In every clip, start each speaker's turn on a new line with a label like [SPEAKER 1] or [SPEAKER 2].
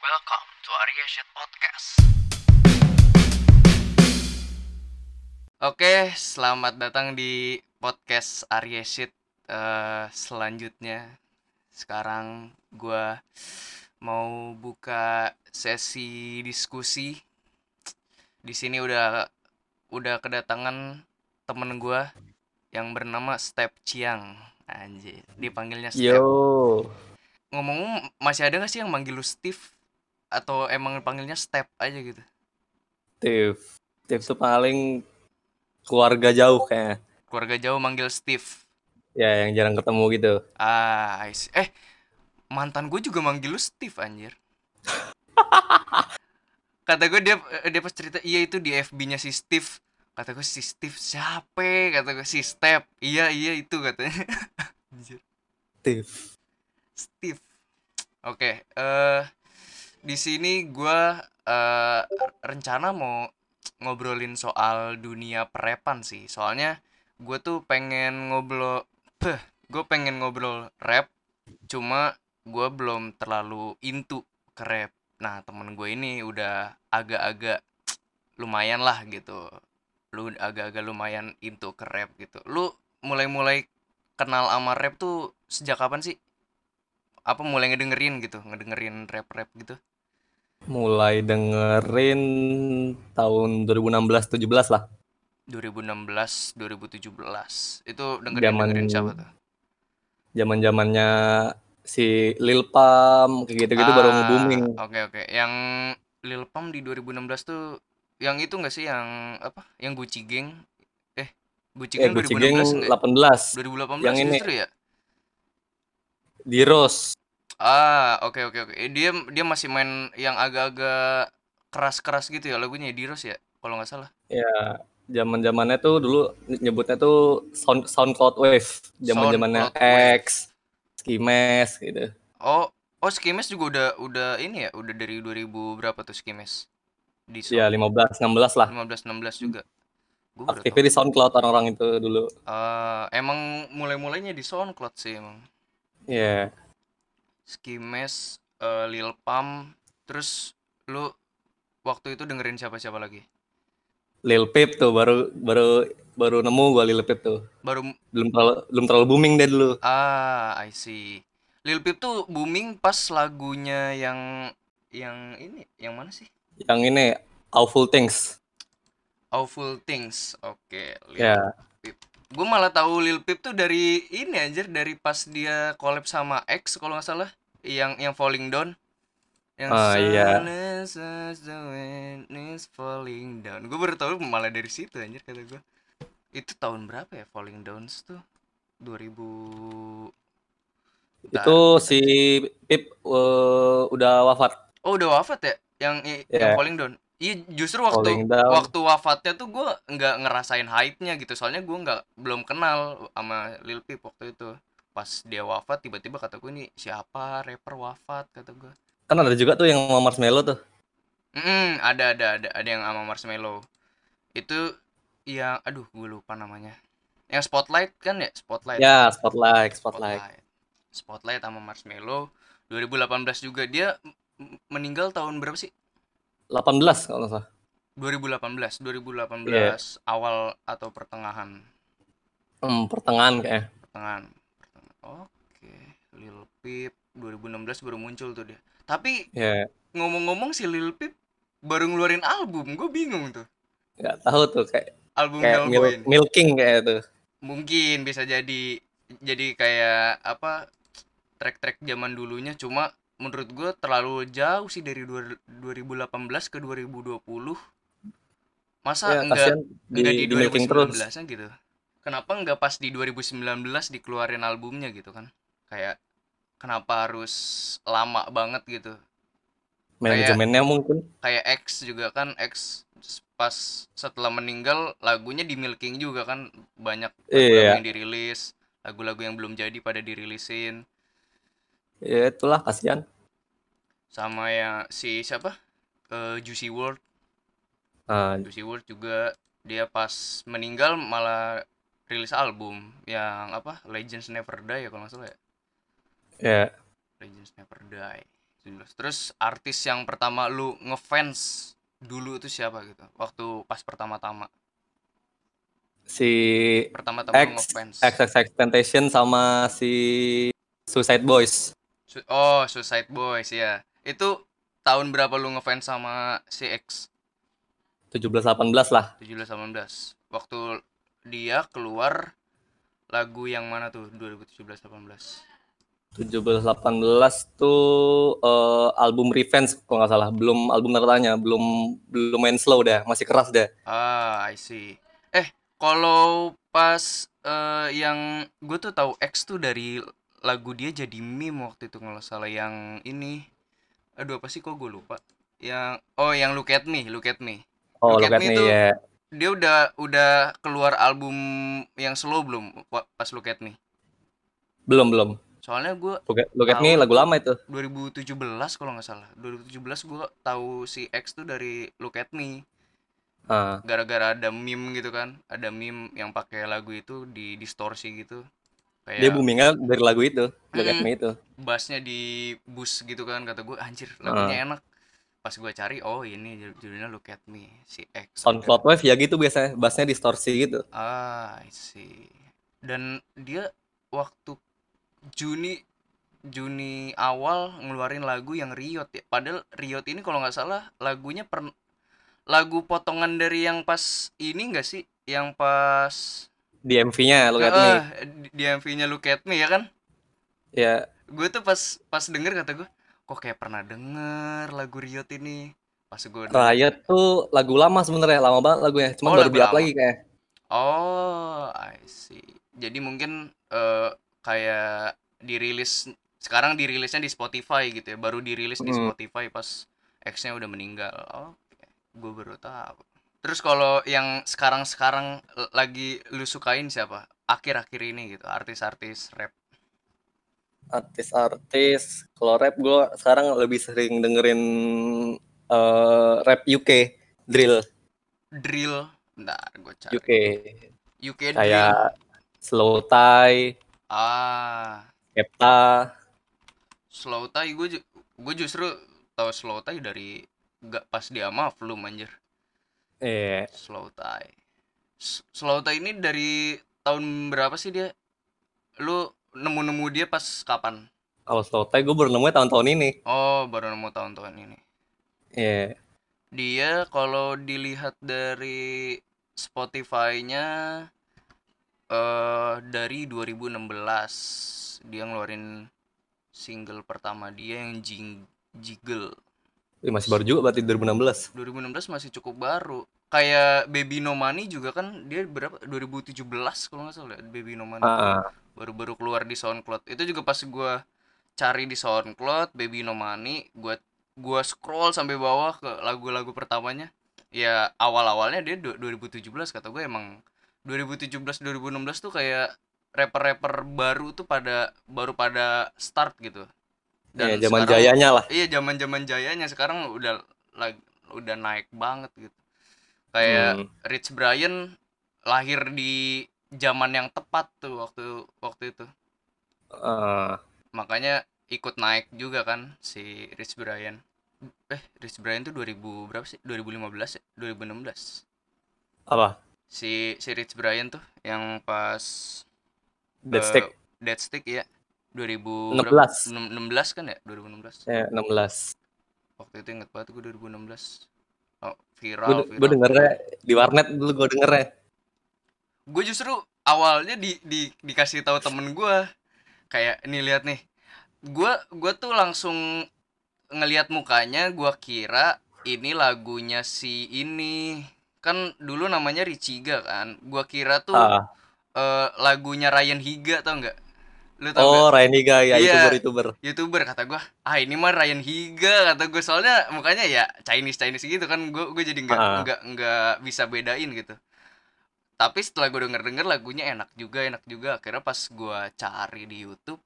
[SPEAKER 1] Welcome to Arya Shit Podcast. Oke, selamat datang di podcast Arya Shit eh, selanjutnya. Sekarang gua mau buka sesi diskusi. Di sini udah udah kedatangan temen gua yang bernama Step Chiang. Anjir, dipanggilnya Step
[SPEAKER 2] Yo,
[SPEAKER 1] ngomong masih ada nggak sih yang manggil lu Steve atau emang panggilnya Step aja gitu
[SPEAKER 2] Steve. Steve tuh paling keluarga jauh kayaknya.
[SPEAKER 1] keluarga jauh manggil Steve
[SPEAKER 2] Ya, yang jarang ketemu gitu.
[SPEAKER 1] ah I see. eh mantan gue juga manggil lu Steve anjir kata gue dia dia pas cerita iya itu di FB-nya si Steve kata gue si Steve siapa kata gue si Step iya iya itu katanya anjir
[SPEAKER 2] Steve.
[SPEAKER 1] Steve. Oke, eh di sini gua eh rencana mau ngobrolin soal dunia perepan sih. Soalnya gue tuh pengen ngobrol, gue pengen ngobrol rap, cuma gue belum terlalu into ke rap. Nah temen gue ini udah agak-agak lumayan lah gitu. Lu agak-agak lumayan into ke rap gitu. Lu mulai-mulai kenal sama rap tuh sejak kapan sih? apa mulai ngedengerin gitu ngedengerin rap rap gitu
[SPEAKER 2] Mulai dengerin tahun 2016-17 lah.
[SPEAKER 1] 2016 2017 itu dengerin
[SPEAKER 2] Zaman-
[SPEAKER 1] dengerin siapa tuh
[SPEAKER 2] Zaman-zamannya si Lil Pam kayak gitu-gitu baru
[SPEAKER 1] Ah,
[SPEAKER 2] nge-booming.
[SPEAKER 1] oke oke yang Lil Pump di 2016 tuh yang itu nggak sih yang apa yang Gucci Gang eh Gucci
[SPEAKER 2] Eh,
[SPEAKER 1] Gang
[SPEAKER 2] Gucci
[SPEAKER 1] 2016
[SPEAKER 2] Gang
[SPEAKER 1] enggak ya? 2018
[SPEAKER 2] 18. Yang ini.
[SPEAKER 1] justru ya
[SPEAKER 2] Di Rose.
[SPEAKER 1] ah oke oke oke Eh, dia dia masih main yang agak-agak keras-keras gitu ya lagunya ya, Diros ya kalau nggak salah
[SPEAKER 2] Ya, zaman-zamannya tuh dulu nyebutnya tuh Sound SoundCloud Wave. Zaman-zamannya
[SPEAKER 1] SoundCloud Wave.
[SPEAKER 2] X, Skimes gitu.
[SPEAKER 1] Oh, oh Skimes juga udah udah ini ya, udah dari 2000 berapa tuh Skimes? Di
[SPEAKER 2] Ya, 15 16 lah.
[SPEAKER 1] 15 16 juga. Gue baru tahu.
[SPEAKER 2] Aktifnya di SoundCloud orang-orang itu dulu.
[SPEAKER 1] Eh, emang mulai-mulainya di SoundCloud sih emang.
[SPEAKER 2] Ya,
[SPEAKER 1] Skimes, eh, Lil Pump, terus lu waktu itu dengerin siapa-siapa lagi?
[SPEAKER 2] Lil Peep tuh baru baru baru nemu gua Lil Peep tuh.
[SPEAKER 1] Baru
[SPEAKER 2] Belum terlalu belum terlalu booming deh dulu.
[SPEAKER 1] ah, I see. Lil Peep tuh booming pas lagunya yang yang ini, yang mana sih?
[SPEAKER 2] Yang ini Awful Things.
[SPEAKER 1] Awful Things. Oke, Lil
[SPEAKER 2] Ya,
[SPEAKER 1] Gue malah tahu Lil Peep tuh dari ini anjir dari pas dia collab sama X kalau nggak salah yang yang Falling Down yang
[SPEAKER 2] Ah, iya.
[SPEAKER 1] "Silence as the wind is falling down. Gue baru tahu malah dari situ anjir kata gue. Itu tahun berapa ya Falling Downs tuh? 2000 Bentar.
[SPEAKER 2] itu si Peep eh, udah wafat.
[SPEAKER 1] Oh, udah wafat ya? Yang i- yang
[SPEAKER 2] Iya.
[SPEAKER 1] Falling Down. Iya, justru waktu
[SPEAKER 2] Falling down.
[SPEAKER 1] waktu wafatnya tuh gue nggak ngerasain hype-nya gitu. Soalnya gue nggak belum kenal sama Lil Peep waktu itu. Pas dia wafat tiba-tiba kata gue ini siapa rapper wafat kata gue.
[SPEAKER 2] Kan ada juga tuh yang sama Marshmello tuh.
[SPEAKER 1] Mm, ada ada ada ada yang sama Marshmello. Itu yang aduh gue lupa namanya. Yang Spotlight kan ya? Spotlight.
[SPEAKER 2] Ya, Spotlight, Spotlight.
[SPEAKER 1] Spotlight. Spotlight sama Marshmello 2018 juga dia m- meninggal tahun berapa sih?
[SPEAKER 2] 18 kalau nggak salah.
[SPEAKER 1] 2018, 2018
[SPEAKER 2] Iya.
[SPEAKER 1] awal atau pertengahan,
[SPEAKER 2] Hmm, pertengahan kayaknya.
[SPEAKER 1] pertengahan. pertengahan. Oke, Lil Peep 2016 baru muncul tuh dia. Tapi
[SPEAKER 2] Ya,
[SPEAKER 1] ngomong-ngomong si Lil Peep baru ngeluarin album, gue bingung tuh.
[SPEAKER 2] nggak tahu tuh kayak
[SPEAKER 1] Album
[SPEAKER 2] kayak mil-
[SPEAKER 1] Hellboy ini.
[SPEAKER 2] milking kayak Ya, tuh.
[SPEAKER 1] Ah, Mungkin bisa jadi jadi kayak apa track-track zaman dulunya cuma menurut gue terlalu jauh sih dari dua- 2018 ke 2020. Masa
[SPEAKER 2] Ya,
[SPEAKER 1] enggak
[SPEAKER 2] kasihan di,
[SPEAKER 1] Enggak di,
[SPEAKER 2] di milking
[SPEAKER 1] 2019
[SPEAKER 2] terus.
[SPEAKER 1] an gitu. Kenapa enggak pas di 2019 dikeluarin albumnya gitu kan? Kayak kenapa harus lama banget gitu?
[SPEAKER 2] Manajemennya mungkin.
[SPEAKER 1] Kayak X juga kan X pas setelah meninggal lagunya di milking juga kan banyak lagu-lagu
[SPEAKER 2] Iya.
[SPEAKER 1] yang dirilis, lagu-lagu yang belum jadi pada dirilisin
[SPEAKER 2] Ya itulah kasihan.
[SPEAKER 1] sama yang si siapa? Eh, Juicy World,
[SPEAKER 2] Nah,
[SPEAKER 1] Juicy World juga dia pas meninggal malah rilis album yang apa Legends Never Die ya kalau nggak salah ya.
[SPEAKER 2] ya
[SPEAKER 1] Legends Never Die. 17. Terus artis yang pertama lu ngefans dulu itu siapa gitu? Waktu pas pertama-tama.
[SPEAKER 2] si
[SPEAKER 1] Pertama-tama lu
[SPEAKER 2] X
[SPEAKER 1] ngefans.
[SPEAKER 2] X X X Temptation sama si Suicide Boys
[SPEAKER 1] Su- oh, Suicide Boys ya. Itu tahun berapa lu ngefans sama si X?
[SPEAKER 2] 17-18 lah
[SPEAKER 1] 17-18. Waktu dia keluar lagu yang mana tuh 2017-18?
[SPEAKER 2] 17-18 tuh eh, album Revenge kalau nggak salah belum album tertanya belum belum main slow dah masih keras dah
[SPEAKER 1] Ah, I see. Eh, kalau pas eh, yang gue tuh tahu X tuh dari lagu dia jadi meme waktu itu kalau nggak salah yang ini. Aduh apa sih kok gue lupa. Yang oh yang Look at Me, Look at Me.
[SPEAKER 2] oh
[SPEAKER 1] Look
[SPEAKER 2] look
[SPEAKER 1] at
[SPEAKER 2] at
[SPEAKER 1] Me
[SPEAKER 2] me
[SPEAKER 1] tuh
[SPEAKER 2] ya
[SPEAKER 1] dia udah udah keluar album yang slow belum wa- pas Look at Me.
[SPEAKER 2] belum belum
[SPEAKER 1] Soalnya gue
[SPEAKER 2] look at, Look at me
[SPEAKER 1] tahu
[SPEAKER 2] lagu lama itu
[SPEAKER 1] 2017 kalau nggak salah. 2017 gue tahu si X tuh dari Look at Me.
[SPEAKER 2] ah
[SPEAKER 1] gara-gara ada meme gitu kan ada meme yang pakai lagu itu di distorsi gitu
[SPEAKER 2] dia
[SPEAKER 1] kayak
[SPEAKER 2] kan, boomingnya dari lagu itu look at
[SPEAKER 1] mm,
[SPEAKER 2] me itu
[SPEAKER 1] bassnya di bus gitu kan kata gue anjir lagunya enak
[SPEAKER 2] ah
[SPEAKER 1] pas gue cari oh ini ju- judulnya Look at Me si X
[SPEAKER 2] sound
[SPEAKER 1] akhirnya
[SPEAKER 2] cloud wave ya gitu biasanya bassnya distorsi gitu
[SPEAKER 1] ah I see dan dia waktu Juni Juni awal ngeluarin lagu yang Riot ya padahal Riot ini kalau nggak salah lagunya pern- lagu potongan dari yang pas ini enggak sih yang pas
[SPEAKER 2] di MV-nya look at me
[SPEAKER 1] Heeh, di MV-nya Look at Me ya kan?
[SPEAKER 2] ya
[SPEAKER 1] Gue tuh pas pas denger kata gue, kok kayak pernah denger lagu Riot ini. Pas gue denger,
[SPEAKER 2] Riot tuh lagu lama sebenarnya lama banget lagunya cuman
[SPEAKER 1] oh
[SPEAKER 2] baru
[SPEAKER 1] lagu
[SPEAKER 2] di-up lagi
[SPEAKER 1] lama.
[SPEAKER 2] kayak
[SPEAKER 1] Oh, I see. Jadi mungkin eh, kayak dirilis sekarang dirilisnya di Spotify gitu ya, baru dirilis di
[SPEAKER 2] Mm.
[SPEAKER 1] Spotify pas X-nya udah meninggal. Oke, gue baru tahu. Terus kalau yang sekarang-sekarang l- lagi lu sukain siapa? Akhir-akhir ini gitu, artis-artis rap.
[SPEAKER 2] artis-artis kalau rap gue sekarang lebih sering dengerin eh, rap UK drill
[SPEAKER 1] drill bentar gue cari
[SPEAKER 2] UK
[SPEAKER 1] UK drill
[SPEAKER 2] kayak Slow Thai,
[SPEAKER 1] ah
[SPEAKER 2] Kepta
[SPEAKER 1] slow Thai gue ju- gue justru tahu slow Thai dari gak pas dia maflum anjir
[SPEAKER 2] eh
[SPEAKER 1] slow Thai S- slow Thai ini dari tahun berapa sih dia lu nemu-nemu dia pas kapan
[SPEAKER 2] kalau Slow Thai gue baru nemunya tahun-tahun ini
[SPEAKER 1] oh baru nemu tahun-tahun ini
[SPEAKER 2] eh
[SPEAKER 1] dia kalau dilihat dari Spotify-nya eh dari 2016 dia ngeluarin single pertama dia yang Jing Jiggle.
[SPEAKER 2] wih, iya, masih baru juga berarti 2016
[SPEAKER 1] 2016 masih cukup baru. Kayak Baby No Money juga kan dia berapa 2017 kalau nggak salah ya, Baby No Money tuh
[SPEAKER 2] ah
[SPEAKER 1] baru-baru keluar di SoundCloud. Itu juga pas gua cari di SoundCloud Baby No Money, gua gua scroll sampai bawah ke lagu-lagu pertamanya. Ya awal-awalnya dia du- 2017 kata gue emang 2017 2016 tuh kayak rapper-rapper baru tuh pada baru pada start gitu.
[SPEAKER 2] ya
[SPEAKER 1] dan
[SPEAKER 2] zaman
[SPEAKER 1] sekarang
[SPEAKER 2] jayanya lah
[SPEAKER 1] iya zaman zaman jayanya sekarang udah lag- udah naik banget gitu kayak
[SPEAKER 2] hmm.
[SPEAKER 1] Rich Brian lahir di zaman yang tepat tuh waktu waktu itu
[SPEAKER 2] eh,
[SPEAKER 1] makanya ikut naik juga kan si Rich Brian eh Rich Brian tuh 2000 berapa sih 2015 ya 2016 eh,
[SPEAKER 2] apa
[SPEAKER 1] si si Rich Brian tuh yang pas eh
[SPEAKER 2] Dead Stick
[SPEAKER 1] Dead Stick ya 2000 berapa
[SPEAKER 2] 16
[SPEAKER 1] Enem- 16 kan ya 2016
[SPEAKER 2] ya 16
[SPEAKER 1] waktu itu inget banget gue 2016 oh,
[SPEAKER 2] gue
[SPEAKER 1] viral
[SPEAKER 2] gue
[SPEAKER 1] viral
[SPEAKER 2] dengernya di warnet dulu gue dengernya
[SPEAKER 1] gue justru awalnya di, di dikasih tahu temen gue kayak nih lihat nih gue gue tuh langsung ngelihat mukanya gue kira ini lagunya si ini kan dulu namanya Richiga kan gue kira tuh
[SPEAKER 2] ah
[SPEAKER 1] eh, lagunya Ryan Higa tau nggak lu tau nggak
[SPEAKER 2] oh Ryan Higa ya
[SPEAKER 1] Iya,
[SPEAKER 2] youtuber youtuber
[SPEAKER 1] YouTuber kata gua. Ah, ini mah Ryan Higa kata gue. Soalnya mukanya ya Chinese Chinese gitu kan. Gue gue jadi nggak
[SPEAKER 2] ah
[SPEAKER 1] nggak nggak bisa bedain gitu. Tapi setelah gue denger-denger lagunya enak juga, enak juga. Akhirnya pas gua cari di YouTube,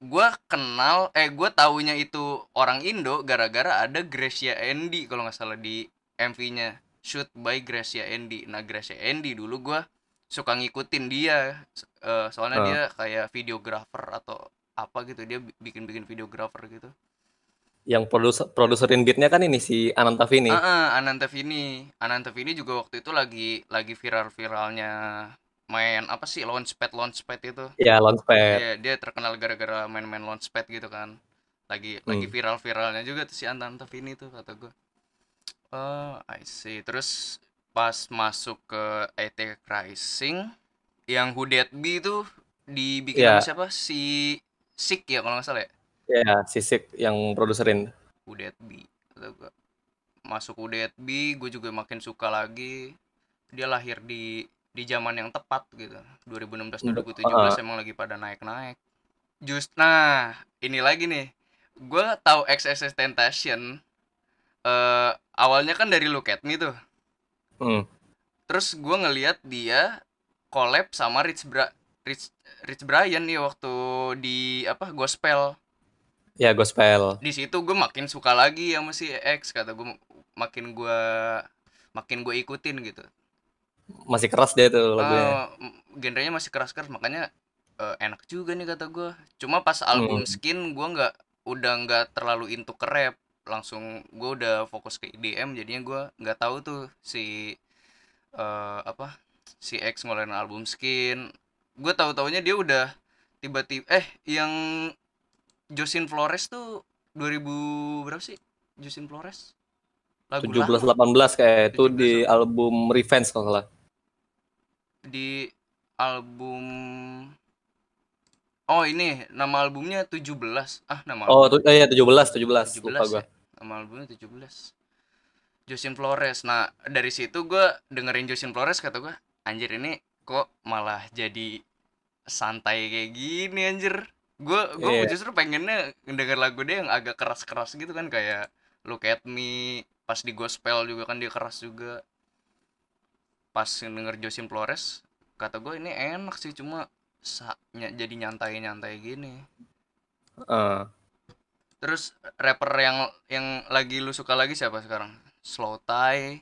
[SPEAKER 1] gua kenal eh gua taunya itu orang Indo gara-gara ada Gracia Endi kalau nggak salah di MV-nya Shoot by Gracia Endi. Nah, Gracia Endi dulu gua suka ngikutin dia S- eh, soalnya dia
[SPEAKER 2] ah
[SPEAKER 1] kayak videografer atau apa gitu dia bi- bikin-bikin videografer gitu.
[SPEAKER 2] yang produser produserin beatnya kan ini si Ananta Vini.
[SPEAKER 1] Ah, ah, Ananta Vini. Ananta Vini juga waktu itu lagi lagi viral-viralnya main apa sih launchpad launchpad itu.
[SPEAKER 2] Ya Launchpad.
[SPEAKER 1] Iya, dia terkenal gara-gara main-main launchpad gitu kan. Lagi lagi
[SPEAKER 2] Hmm.
[SPEAKER 1] viral-viralnya juga tuh si Ananta Vini tuh kata gue. Oh, I see. Terus pas masuk ke IT Rising yang Who Dat Be itu dibikin
[SPEAKER 2] Iya.
[SPEAKER 1] sama siapa? Si Sik ya kalau nggak salah ya.
[SPEAKER 2] Ya Sisik yang produserin.
[SPEAKER 1] Who Dat Be. Kata gua. Masuk Who Dat Be, gue juga makin suka lagi. Dia lahir di di zaman yang tepat gitu. 2016 2017 emang lagi pada naik-naik. Just nah, ini lagi nih. Gue tahu XXX Temptation eh awalnya kan dari Look At Me tuh.
[SPEAKER 2] Hmm.
[SPEAKER 1] Terus gue ngeliat dia collab sama Rich Bra Rich Rich Brian nih waktu di apa Gospel.
[SPEAKER 2] Ya gospel.
[SPEAKER 1] Di situ gue makin suka lagi sama si X kata gue makin gue makin gue ikutin gitu.
[SPEAKER 2] Masih keras dia tuh lagunya.
[SPEAKER 1] Eh, m- genrenya masih keras-keras makanya eh, enak juga nih kata gue. Cuma pas album
[SPEAKER 2] Hmm.
[SPEAKER 1] Skin gue nggak udah nggak terlalu into ke rap langsung gue udah fokus ke IDM jadinya gue nggak tahu tuh si eh, apa si X ngeluarin album Skin gue tahu taunya dia udah tiba-tiba eh yang Josin Flores tuh 2000 berapa sih Josin Flores lagu
[SPEAKER 2] 17
[SPEAKER 1] lama
[SPEAKER 2] 18 kayak itu di
[SPEAKER 1] 17-18.
[SPEAKER 2] album Revenge kalau nggak salah.
[SPEAKER 1] di album oh ini nama albumnya 17 ah nama
[SPEAKER 2] Oh,
[SPEAKER 1] album
[SPEAKER 2] tu, eh, ya 17 17 lupa
[SPEAKER 1] 17
[SPEAKER 2] gua.
[SPEAKER 1] ya nama albumnya 17 Josin Flores nah dari situ gua dengerin Josin Flores kata gua anjir ini kok malah jadi santai kayak gini anjir gua gua
[SPEAKER 2] Iya.
[SPEAKER 1] justru pengennya denger lagu dia yang agak keras-keras gitu kan kayak Look at Me pas di gospel juga kan dia keras juga pas denger Josin Flores kata gue ini enak sih cuma sa- ny- jadi nyantai nyantai gini
[SPEAKER 2] Eh,
[SPEAKER 1] terus rapper yang yang lagi lu suka lagi siapa sekarang slow tie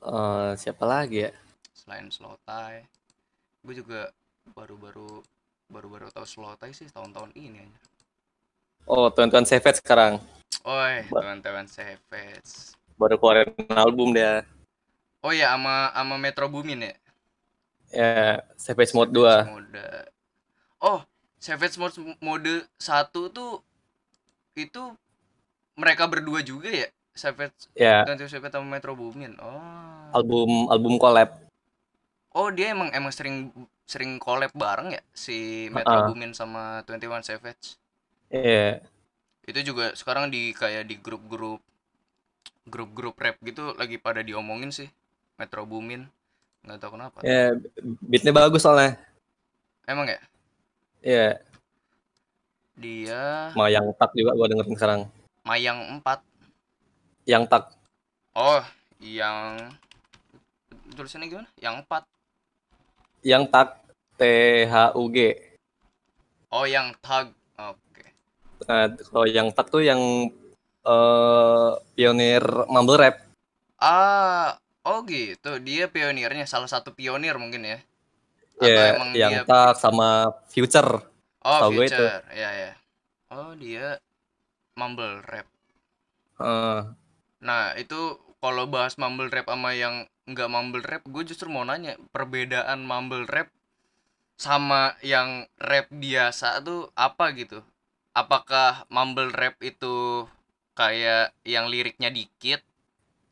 [SPEAKER 2] eh, siapa lagi ya?
[SPEAKER 1] selain slow tie gue juga baru-baru baru-baru tahu slow tie sih tahun-tahun ini aja
[SPEAKER 2] Oh, Tuan Savage sekarang
[SPEAKER 1] oi
[SPEAKER 2] Ba-
[SPEAKER 1] teman-teman savage
[SPEAKER 2] baru keluarin album dia.
[SPEAKER 1] oh ya ama ama metro boomin ya
[SPEAKER 2] Ya, Savage Mode
[SPEAKER 1] Savage
[SPEAKER 2] 2.
[SPEAKER 1] mode oh savage mode mode satu tuh itu mereka berdua juga ya savage
[SPEAKER 2] Ya,
[SPEAKER 1] Ganti Usai sama Metro Boomin. Oh.
[SPEAKER 2] album album collab.
[SPEAKER 1] Oh, dia emang emang sering sering collab bareng ya si Metro
[SPEAKER 2] Heeh.
[SPEAKER 1] Boomin sama 21 Savage.
[SPEAKER 2] Iya.
[SPEAKER 1] Itu juga sekarang di kayak di grup-grup grup-grup rap gitu lagi pada diomongin sih Metro Boomin. Nggak tahu kenapa.
[SPEAKER 2] Ya, beatnya bagus soalnya.
[SPEAKER 1] Emang ya?
[SPEAKER 2] Iya,
[SPEAKER 1] Dia
[SPEAKER 2] sama yang tak juga gua dengerin sekarang.
[SPEAKER 1] Mayang 4.
[SPEAKER 2] Yang tak
[SPEAKER 1] Oh, yang tulisannya gimana? Yang 4.
[SPEAKER 2] yang tak T H U G.
[SPEAKER 1] Oh, yang Thug. Oke.
[SPEAKER 2] Nah, kalau yang tak tuh yang eh pionir mumble rap.
[SPEAKER 1] Ah, oh gitu. Dia pionirnya, salah satu pionir mungkin ya. Atau
[SPEAKER 2] Ya,
[SPEAKER 1] emang
[SPEAKER 2] yang
[SPEAKER 1] dia
[SPEAKER 2] tak sama Future.
[SPEAKER 1] Oh,
[SPEAKER 2] Tahu gue itu.
[SPEAKER 1] Future. Ya, ya. Oh, dia mumble rap.
[SPEAKER 2] Eh,
[SPEAKER 1] Nah, itu kalau bahas mumble rap sama yang nggak mumble rap, gue justru mau nanya perbedaan mumble rap sama yang rap biasa tuh apa gitu? Apakah mumble rap itu kayak yang liriknya dikit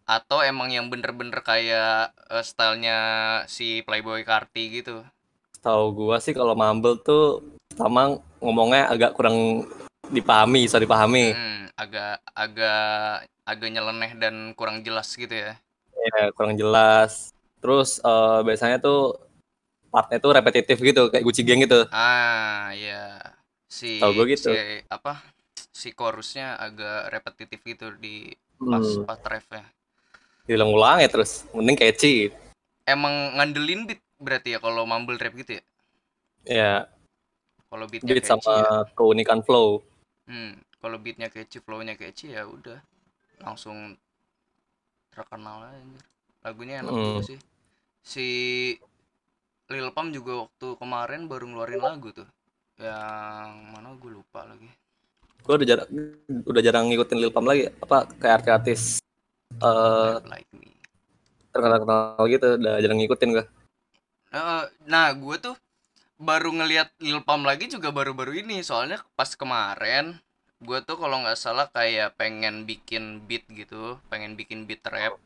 [SPEAKER 1] atau emang yang bener-bener kayak eh, stylenya si Playboy Carti gitu?
[SPEAKER 2] tahu gua sih kalau mumble tuh sama ngomongnya agak kurang dipahami, bisa dipahami.
[SPEAKER 1] Hmm, agak agak agak nyeleneh dan kurang jelas gitu ya.
[SPEAKER 2] Ya, kurang jelas. Terus eh, biasanya tuh partnya tuh repetitif gitu, kayak Gucci Gang gitu.
[SPEAKER 1] Ah, ya. Si
[SPEAKER 2] Tahu gua
[SPEAKER 1] si
[SPEAKER 2] gitu.
[SPEAKER 1] apa? Si chorusnya agak repetitif gitu di pas
[SPEAKER 2] Hmm,
[SPEAKER 1] pas refnya.
[SPEAKER 2] diulang-ulang ya terus. Mending catchy.
[SPEAKER 1] Emang ngandelin beat berarti ya kalau mumble rap gitu ya.
[SPEAKER 2] Ya,
[SPEAKER 1] Kalau beatnya
[SPEAKER 2] beat
[SPEAKER 1] catchy ya.
[SPEAKER 2] sama keunikan flow.
[SPEAKER 1] Hmm, kalau beatnya catchy, flownya catchy ya udah langsung terkenal aja. anjir. Lagunya enak juga
[SPEAKER 2] Hmm.
[SPEAKER 1] sih. Si Lil Pump juga waktu kemarin baru ngeluarin lagu tuh. Yang mana gue lupa lagi.
[SPEAKER 2] gue udah jarang udah jarang ngikutin Lil Pump lagi apa kayak artis-artis eh
[SPEAKER 1] Rap Like Me.
[SPEAKER 2] terkenal-kenal gitu udah jarang ngikutin gue
[SPEAKER 1] Eh, nah gue tuh baru ngelihat Lil Pump lagi juga baru-baru ini soalnya pas kemarin gue tuh kalau nggak salah kayak pengen bikin beat gitu pengen bikin beat rap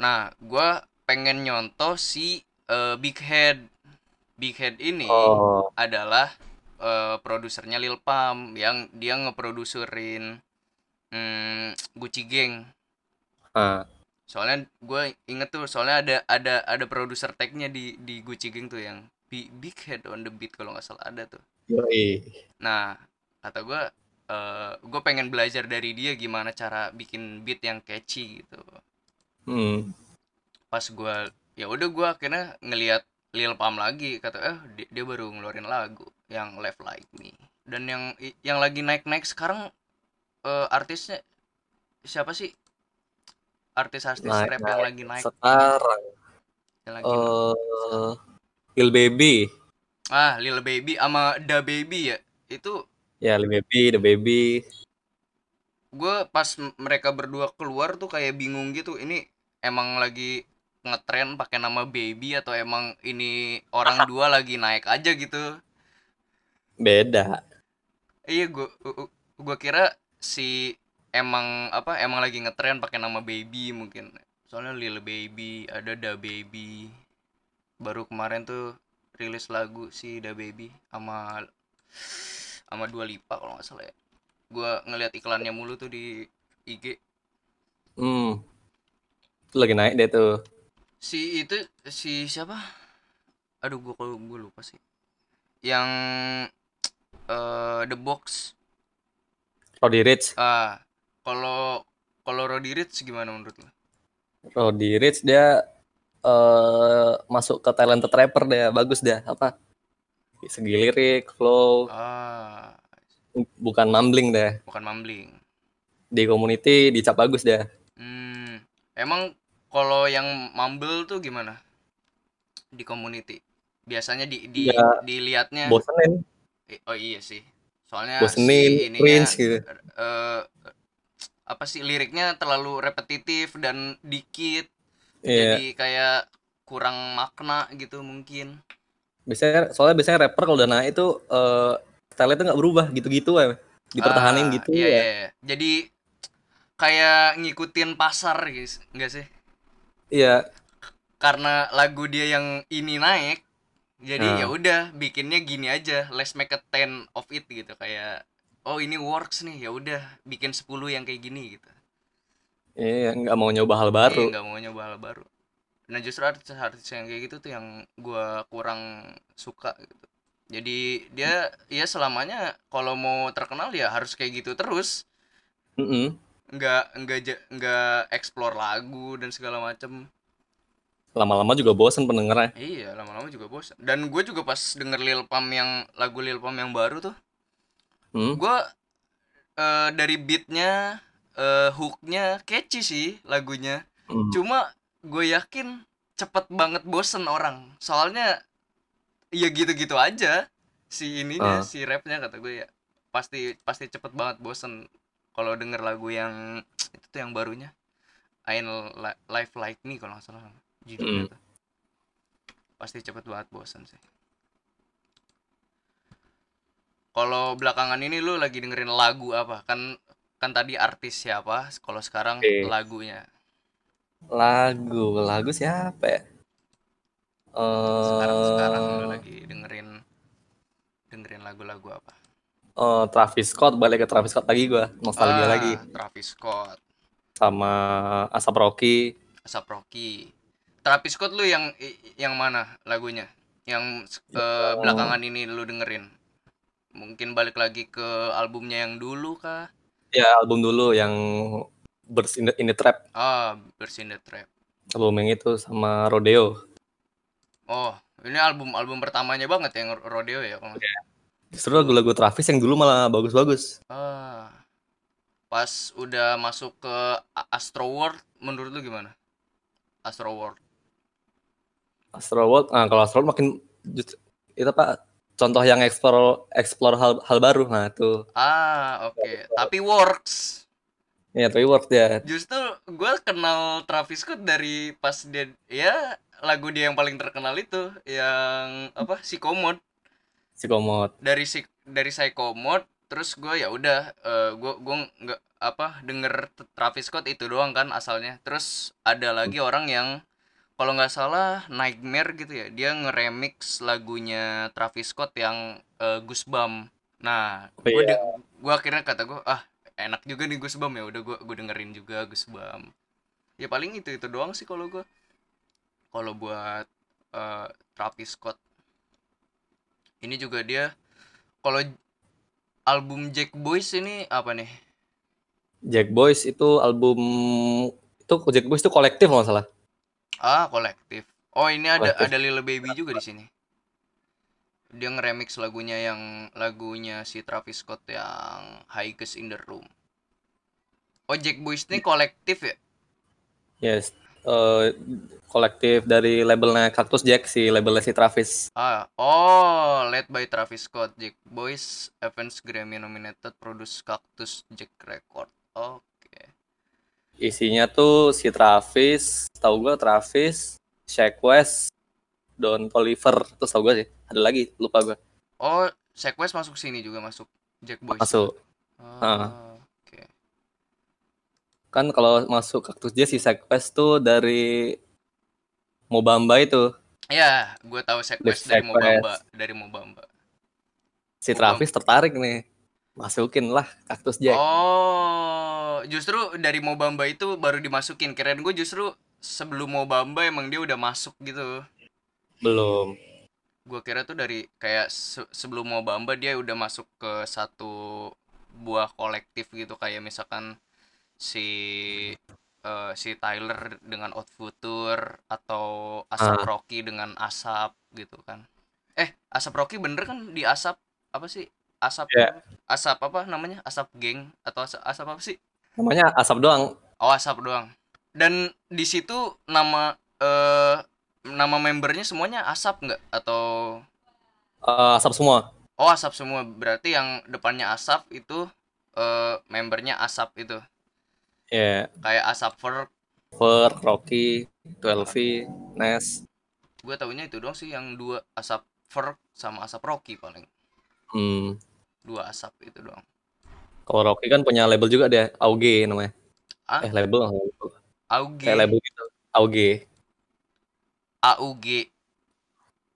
[SPEAKER 1] nah gue pengen nyontoh si eh, Big Head Big Head ini
[SPEAKER 2] oh
[SPEAKER 1] adalah eh, produsernya Lil Pump yang dia ngeproduserin hmm, Gucci Gang
[SPEAKER 2] ah
[SPEAKER 1] soalnya gue inget tuh soalnya ada ada ada produser tagnya di di Gucci Gang tuh yang Bi- Big Head on the Beat kalau nggak salah ada tuh
[SPEAKER 2] yoi
[SPEAKER 1] nah kata gue eh gue pengen belajar dari dia gimana cara bikin beat yang catchy gitu
[SPEAKER 2] hmm
[SPEAKER 1] pas gue ya udah gue akhirnya ngelihat Lil Pump lagi kata eh di- dia, baru ngeluarin lagu yang Left Like Me dan yang i- yang lagi naik naik sekarang eh, artisnya siapa sih artis-artis
[SPEAKER 2] Naik-
[SPEAKER 1] rap yang lagi naik
[SPEAKER 2] sekarang
[SPEAKER 1] yang lagi naik?
[SPEAKER 2] eh Lil Baby
[SPEAKER 1] ah Lil Baby sama Da Baby ya itu
[SPEAKER 2] ya Lil Baby The Baby
[SPEAKER 1] gue pas m- mereka berdua keluar tuh kayak bingung gitu ini emang lagi ngetren pakai nama Baby atau emang ini orang dua lagi naik aja gitu
[SPEAKER 2] beda
[SPEAKER 1] Iya gua gua- gua kira si emang apa emang lagi ngetren pakai nama baby mungkin. Soalnya Lil Baby, ada Da Baby. Baru kemarin tuh rilis lagu si Da Baby sama sama Dua Lipa kalau nggak salah ya. Gua ngeliat iklannya mulu tuh di IG.
[SPEAKER 2] hmm itu lagi naik deh tuh
[SPEAKER 1] Si itu si siapa? Aduh gua kalau gua lupa sih. Yang eh The Box
[SPEAKER 2] Roddy Rich
[SPEAKER 1] Ah, kalau kalau Roddy Ricch gimana menurut lo?
[SPEAKER 2] Roddy Rich dia eh masuk ke talented rapper deh bagus deh apa segi lirik flow
[SPEAKER 1] Ah,
[SPEAKER 2] bukan mumbling deh
[SPEAKER 1] bukan mumbling.
[SPEAKER 2] di community dicap bagus deh
[SPEAKER 1] Hmm, emang kalau yang mumble tuh gimana di community? Biasanya di di
[SPEAKER 2] Ya,
[SPEAKER 1] dilihatnya
[SPEAKER 2] bosenin
[SPEAKER 1] eh, oh iya sih. Soalnya si
[SPEAKER 2] bosenin
[SPEAKER 1] ininya
[SPEAKER 2] cringe gitu
[SPEAKER 1] eh, apa sih liriknya terlalu repetitif dan dikit
[SPEAKER 2] Iya,
[SPEAKER 1] jadi kayak kurang makna gitu mungkin.
[SPEAKER 2] biasanya soalnya biasanya rapper kalau udah naik itu eh style itu nggak berubah gitu-gitu ya, dipertahanin
[SPEAKER 1] Ah,
[SPEAKER 2] gitu
[SPEAKER 1] iya,
[SPEAKER 2] ya.
[SPEAKER 1] iya, iya. Jadi kayak ngikutin pasar guys, enggak sih?
[SPEAKER 2] Iya,
[SPEAKER 1] karena lagu dia yang ini naik jadi
[SPEAKER 2] Nah.
[SPEAKER 1] ya udah bikinnya gini aja let's make a 10 of it gitu kayak oh ini works nih ya udah bikin 10 yang kayak gini gitu
[SPEAKER 2] iya nggak mau nyoba hal
[SPEAKER 1] iya
[SPEAKER 2] baru.
[SPEAKER 1] nggak mau nyoba hal baru nah justru artis-artis yang kayak gitu tuh yang gua kurang suka gitu jadi dia ya selamanya kalau mau terkenal ya harus kayak gitu terus
[SPEAKER 2] Mm-mm.
[SPEAKER 1] nggak nggak ja- nggak explore lagu dan segala macem
[SPEAKER 2] Lama-lama juga bosen pendengarnya.
[SPEAKER 1] Iya, lama-lama juga bosan. Dan gue juga pas denger Lil Pump yang lagu Lil Pump yang baru tuh,
[SPEAKER 2] Hmm.
[SPEAKER 1] gue eh, dari beatnya, eh, hooknya catchy sih lagunya.
[SPEAKER 2] Mm.
[SPEAKER 1] Cuma gue yakin cepet banget bosen orang. Soalnya ya gitu-gitu aja si ininya,
[SPEAKER 2] Ah.
[SPEAKER 1] si rapnya kata gue ya pasti pasti cepet banget bosen kalau denger lagu yang itu tuh yang barunya, I Li- Life Like Me kalau nggak salah judulnya
[SPEAKER 2] Mm.
[SPEAKER 1] tuh. Pasti cepet banget bosen sih. Kalau belakangan ini lu lagi dengerin lagu apa? Kan kan tadi artis siapa? Kalau sekarang
[SPEAKER 2] Oke.
[SPEAKER 1] lagunya.
[SPEAKER 2] Lagu, lagu siapa ya?
[SPEAKER 1] Sekarang sekarang lu
[SPEAKER 2] Eh,
[SPEAKER 1] lagi dengerin dengerin lagu-lagu apa?
[SPEAKER 2] eh, Travis Scott balik ke Travis Scott lagi gua nostalgia
[SPEAKER 1] Ah,
[SPEAKER 2] lagi
[SPEAKER 1] Travis Scott,
[SPEAKER 2] sama Asap Rocky.
[SPEAKER 1] Asap Rocky. Travis Scott lu yang i- yang mana lagunya? Yang eh, belakangan ini lu dengerin? Mungkin balik lagi ke albumnya yang dulu kah?
[SPEAKER 2] Ya album dulu yang Birds in the, in the Trap
[SPEAKER 1] Ah, Birds in the Trap.
[SPEAKER 2] album yang itu sama Rodeo.
[SPEAKER 1] Oh, ini album album pertamanya banget yang Rodeo ya kalau nggak salah.
[SPEAKER 2] Justru lagu-lagu Travis yang dulu malah bagus-bagus.
[SPEAKER 1] Ah. pas udah masuk ke A- Astro World menurut lu gimana Astro World
[SPEAKER 2] nah, Astro World, ah, kalau Astro World makin just- itu apa contoh yang explore explore hal hal baru nah tuh
[SPEAKER 1] Ah, oke. Tapi works.
[SPEAKER 2] ya tapi work dia
[SPEAKER 1] Justru gue kenal Travis Scott dari pas dia ya lagu dia yang paling terkenal itu yang apa Psychomode
[SPEAKER 2] si komod
[SPEAKER 1] dari si dari Psychomode terus gue ya udah eh, gue gue nggak apa denger t- Travis Scott itu doang kan asalnya terus ada lagi orang yang kalau nggak salah Nightmare gitu ya dia ngeremix lagunya Travis Scott yang eh, Goosebump nah
[SPEAKER 2] Oh,
[SPEAKER 1] gue akhirnya kata gue ah enak juga nih Goosebump ya udah gue gue dengerin juga Goosebump ya paling itu itu doang sih kalau gue kalau buat eh, Travis Scott ini juga dia kalau j- album Jack Boys ini apa nih
[SPEAKER 2] Jack Boys itu album itu Jack Boys itu kolektif kalau nggak salah
[SPEAKER 1] ah kolektif oh ini ada
[SPEAKER 2] Kolektif.
[SPEAKER 1] ada Lil Baby juga di sini dia ngeremix lagunya yang lagunya si Travis Scott yang Highest in the Room oh Jack Boys ini kolektif ya
[SPEAKER 2] yes Eh, kolektif dari labelnya Cactus Jack si labelnya si Travis
[SPEAKER 1] ah oh led by Travis Scott Jack Boys Evans Grammy nominated produce Cactus Jack Record Oh, oke
[SPEAKER 2] isinya tuh si Travis tahu gua Travis Shaq West Don Toliver terus tahu gua sih ada lagi lupa gua
[SPEAKER 1] oh Sequest masuk sini juga masuk Jack Boys
[SPEAKER 2] masuk
[SPEAKER 1] Ah, oke
[SPEAKER 2] kan kalau masuk Cactus Jack si Shaq West tuh dari Mobamba itu
[SPEAKER 1] Ya, gue tahu Sequest dari
[SPEAKER 2] Sequest.
[SPEAKER 1] Mobamba, dari Mobamba.
[SPEAKER 2] si
[SPEAKER 1] Mobamba.
[SPEAKER 2] Travis tertarik nih masukin lah Cactus Jack
[SPEAKER 1] Oh, justru dari Mobamba itu baru dimasukin. Keren gue justru sebelum Mobamba emang dia udah masuk gitu.
[SPEAKER 2] belum
[SPEAKER 1] Gue kira tuh dari kayak se- sebelum Mobamba dia udah masuk ke satu buah kolektif gitu kayak misalkan si eh, si Tyler dengan Out Future atau Asap Rocky dengan Asap gitu kan. Eh, Asap Rocky bener kan di Asap apa sih? Asap
[SPEAKER 2] Iya.
[SPEAKER 1] Asap apa namanya? Asap geng atau asap, asap apa sih?
[SPEAKER 2] namanya asap doang
[SPEAKER 1] Oh, Asap doang. Dan di situ nama eh nama membernya semuanya Asap nggak atau
[SPEAKER 2] Eh, asap semua
[SPEAKER 1] Oh, Asap semua. Berarti yang depannya Asap itu eh membernya Asap itu.
[SPEAKER 2] ya
[SPEAKER 1] Kayak Asap Ferg
[SPEAKER 2] Ver, Rocky, 12V, Nes,
[SPEAKER 1] gue taunya itu doang sih yang dua asap Ferg sama asap Rocky paling
[SPEAKER 2] hmm.
[SPEAKER 1] dua asap itu doang
[SPEAKER 2] Kalau Rocky kan punya label juga dia, AUG namanya.
[SPEAKER 1] Ah?
[SPEAKER 2] Eh label, label.
[SPEAKER 1] AUG
[SPEAKER 2] kayak label gitu, AUG,
[SPEAKER 1] AUG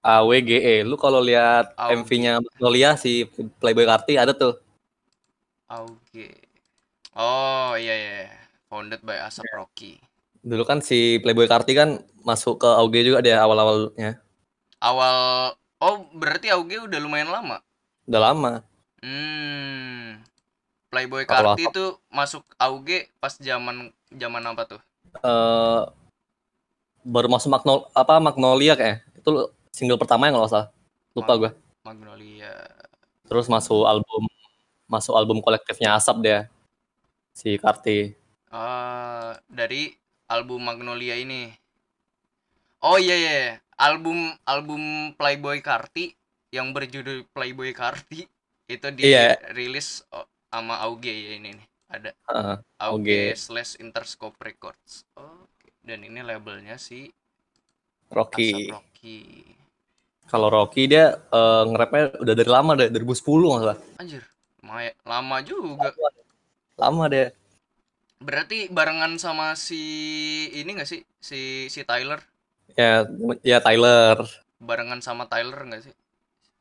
[SPEAKER 2] AWGE. E. Lu kalau lihat
[SPEAKER 1] AUG.
[SPEAKER 2] MV-nya Magnolia si Playboy Karti ada tuh.
[SPEAKER 1] AUG oh iya iya iya. founded by asap Rocky
[SPEAKER 2] Dulu kan si Playboy Karti kan masuk ke AUG juga dia awal-awalnya.
[SPEAKER 1] awal oh berarti AUG udah lumayan lama
[SPEAKER 2] Udah lama.
[SPEAKER 1] hmm Playboy
[SPEAKER 2] Kalau
[SPEAKER 1] Karti itu masuk AUG pas zaman zaman apa tuh
[SPEAKER 2] Eh baru masuk Magnol apa Magnolia kayaknya. Itu single pertama yang kalau nggak salah. Lupa gua.
[SPEAKER 1] Magnolia
[SPEAKER 2] Terus masuk album masuk album kolektifnya Asap dia. Si Karti.
[SPEAKER 1] Ah, dari album Magnolia ini. Oh iya iya, iya. album album Playboy Karti yang berjudul Playboy Karti itu
[SPEAKER 2] Iya.
[SPEAKER 1] dirilis o- sama AUG ya ini nih. Ada
[SPEAKER 2] Heeh,
[SPEAKER 1] AUG
[SPEAKER 2] AUG.
[SPEAKER 1] slash Interscope Records. Oke. Dan ini labelnya si
[SPEAKER 2] Rocky.
[SPEAKER 1] Asap Rocky.
[SPEAKER 2] Kalau Rocky dia eh, nge-rapnya udah dari lama dari 2010 nggak salah.
[SPEAKER 1] Anjir, lumay- lama juga.
[SPEAKER 2] Lama deh.
[SPEAKER 1] Berarti barengan sama si ini gak sih? Si si Tyler
[SPEAKER 2] Ya ya Tyler
[SPEAKER 1] barengan sama Tyler nggak sih?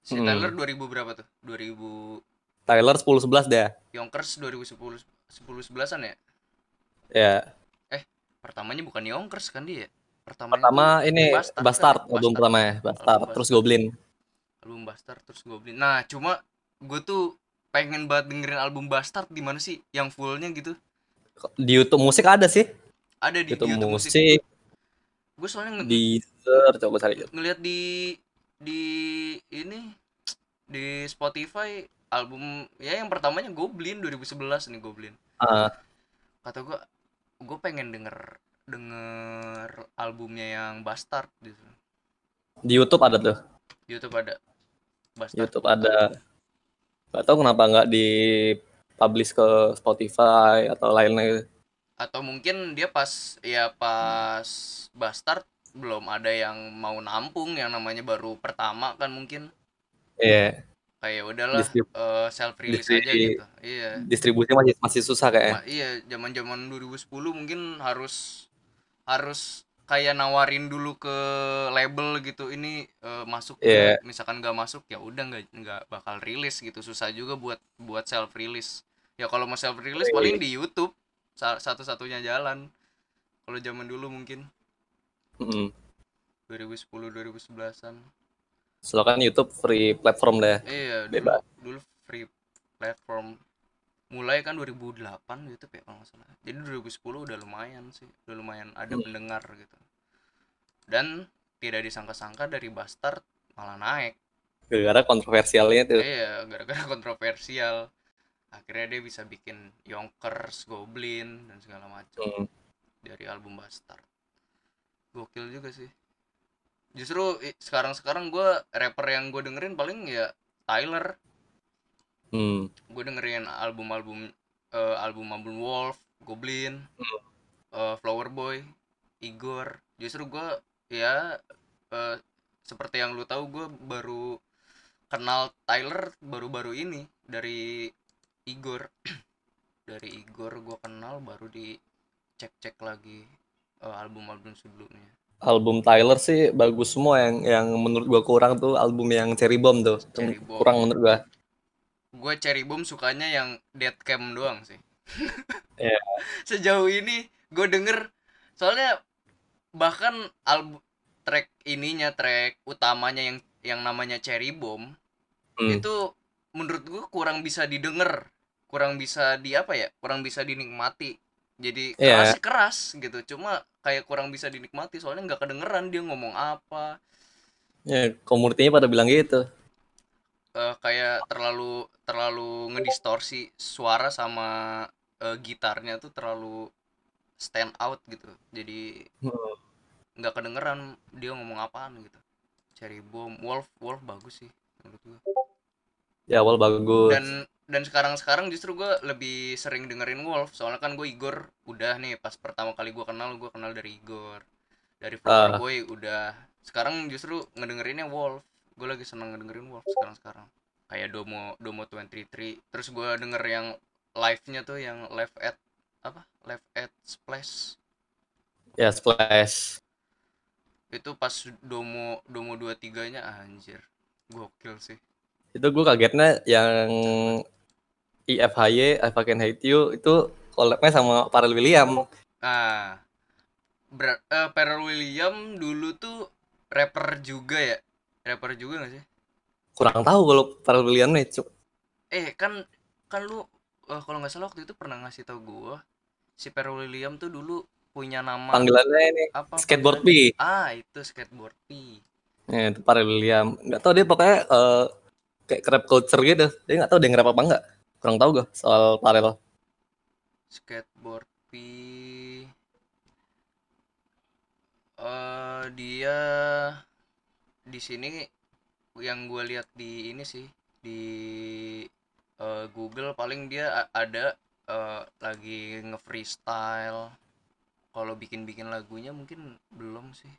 [SPEAKER 1] Si
[SPEAKER 2] Hmm.
[SPEAKER 1] Tyler 2000 berapa tuh? 2000
[SPEAKER 2] Tyler 10 11 deh.
[SPEAKER 1] Yonkers 2010 10 11-an ya?
[SPEAKER 2] Ya,
[SPEAKER 1] Pertamanya bukan Yonkers kan dia? ya? Pertamanya
[SPEAKER 2] pertama ini
[SPEAKER 1] Bastard.
[SPEAKER 2] Bastard,
[SPEAKER 1] Bastard.
[SPEAKER 2] album pertamanya, Bastard,
[SPEAKER 1] Album
[SPEAKER 2] terus
[SPEAKER 1] Bastard.
[SPEAKER 2] Goblin.
[SPEAKER 1] tuh album Bastard terus Goblin. Nah, cuma gue tuh pengen banget dengerin album Bastard di mana sih yang fullnya gitu?
[SPEAKER 2] Di YouTube musik ada sih.
[SPEAKER 1] Ada di
[SPEAKER 2] YouTube,
[SPEAKER 1] YouTube
[SPEAKER 2] musik,
[SPEAKER 1] musik. Gue soalnya nge-
[SPEAKER 2] di Deezer, coba cari.
[SPEAKER 1] ngelihat di di ini di Spotify album ya yang pertamanya Goblin 2011 nih Goblin.
[SPEAKER 2] Ah,
[SPEAKER 1] kata gue gue pengen denger denger albumnya yang Bastard gitu
[SPEAKER 2] di YouTube ada tuh.
[SPEAKER 1] YouTube ada Blockbuster.
[SPEAKER 2] YouTube ada nggak tahu kenapa nggak di publish ke Spotify atau lainnya
[SPEAKER 1] Atau mungkin dia pas ya pas Bastard belum ada yang mau nampung yang namanya baru pertama kan mungkin
[SPEAKER 2] Iya,
[SPEAKER 1] kayak udahlah
[SPEAKER 2] Distrib-
[SPEAKER 1] self release
[SPEAKER 2] distri-
[SPEAKER 1] aja gitu. Iya.
[SPEAKER 2] distribusi masih masih susah kayaknya.
[SPEAKER 1] Ma- iya, zaman-zaman 2010 mungkin harus harus kayak nawarin dulu ke label gitu ini eh, masuk
[SPEAKER 2] Iya.
[SPEAKER 1] nggak? misalkan nggak masuk ya udah nggak nggak bakal rilis gitu susah juga buat buat self release ya kalau mau self
[SPEAKER 2] Iya.
[SPEAKER 1] release paling di YouTube sa- satu-satunya jalan kalau zaman dulu mungkin
[SPEAKER 2] Mm-mm.
[SPEAKER 1] 2010 2011an
[SPEAKER 2] Soalnya kan YouTube free platform deh.
[SPEAKER 1] iya dulu
[SPEAKER 2] Eh, Bebas.
[SPEAKER 1] dulu free platform mulai kan 2008 YouTube ya kalau nggak salah jadi 2010 udah lumayan sih udah lumayan ada
[SPEAKER 2] Hmm.
[SPEAKER 1] pendengar gitu dan tidak disangka-sangka dari Bastard malah naik
[SPEAKER 2] Gara-gara kontroversialnya tuh.
[SPEAKER 1] iya gara-gara kontroversial akhirnya dia bisa bikin Yonkers Goblin dan segala macam
[SPEAKER 2] Mm.
[SPEAKER 1] dari album Bastard gokil juga sih justru i- sekarang-sekarang gue rapper yang gue dengerin paling ya Tyler
[SPEAKER 2] Mm.
[SPEAKER 1] gue dengerin album-album eh, album album Wolf, Goblin,
[SPEAKER 2] Hmm.
[SPEAKER 1] eh, Flower Boy, Igor. Justru gue ya eh, seperti yang lu tahu gue baru kenal Tyler baru-baru ini dari Igor. dari Igor gue kenal baru di cek-cek lagi eh, album-album sebelumnya.
[SPEAKER 2] Album Tyler sih bagus semua yang yang menurut gua kurang tuh album yang Cherry Bomb tuh.
[SPEAKER 1] Cherry Bomb.
[SPEAKER 2] Kurang menurut gua.
[SPEAKER 1] gue Cherry Bomb sukanya yang Dead Cam doang sih.
[SPEAKER 2] Iya.
[SPEAKER 1] Sejauh ini gue denger soalnya bahkan album track ininya track utamanya yang yang namanya Cherry Bomb
[SPEAKER 2] Mm.
[SPEAKER 1] itu menurut gue kurang bisa didengar, kurang bisa di apa ya, kurang bisa dinikmati. Jadi keras
[SPEAKER 2] Iya.
[SPEAKER 1] sih keras gitu, cuma kayak kurang bisa dinikmati soalnya nggak kedengeran dia ngomong apa,
[SPEAKER 2] Ya, komunitinya pada bilang gitu.
[SPEAKER 1] eh kayak terlalu terlalu ngedistorsi suara sama eh, gitarnya tuh terlalu stand out gitu jadi
[SPEAKER 2] Hmm.
[SPEAKER 1] nggak kedengeran dia ngomong apaan gitu Cherry Bomb Wolf Wolf bagus sih menurut gua
[SPEAKER 2] Di awal bagus.
[SPEAKER 1] dan dan sekarang sekarang justru gua lebih sering dengerin Wolf soalnya kan gue Igor udah nih pas pertama kali gua kenal gua kenal dari Igor dari Flower
[SPEAKER 2] Ah.
[SPEAKER 1] Boy udah sekarang justru ngedengerinnya Wolf gue lagi seneng ngedengerin Wolf sekarang sekarang kayak Domo Domo 23 terus gua denger yang live nya tuh yang live at apa live at Splash
[SPEAKER 2] Ya, Splash.
[SPEAKER 1] itu pas Domo Domo 23 nya anjir gokil sih
[SPEAKER 2] itu gue kagetnya yang IFHY I Fucking Hate You itu collabnya sama Pharrell William
[SPEAKER 1] Ah, ber eh, Pharrell William dulu tuh rapper juga ya, rapper juga gak sih?
[SPEAKER 2] kurang tahu kalau Pharrell William nih cu-
[SPEAKER 1] Eh kan kan lu eh, kalau nggak salah waktu itu pernah ngasih tau gua si Pharrell William tuh dulu punya nama
[SPEAKER 2] panggilannya ini
[SPEAKER 1] apa?
[SPEAKER 2] skateboard
[SPEAKER 1] panggilan-
[SPEAKER 2] P
[SPEAKER 1] Ah itu skateboard P.
[SPEAKER 2] ya, itu Pharrell William nggak tahu dia pokoknya eh, kayak rap culture gitu dia nggak tahu dia ngerap apa enggak kurang tahu gue soal Pharrell
[SPEAKER 1] Skateboard P. Eh dia di sini yang gue lihat di ini sih di eh, Google paling dia a- ada eh, lagi nge-freestyle. Kalau bikin-bikin lagunya mungkin belum sih.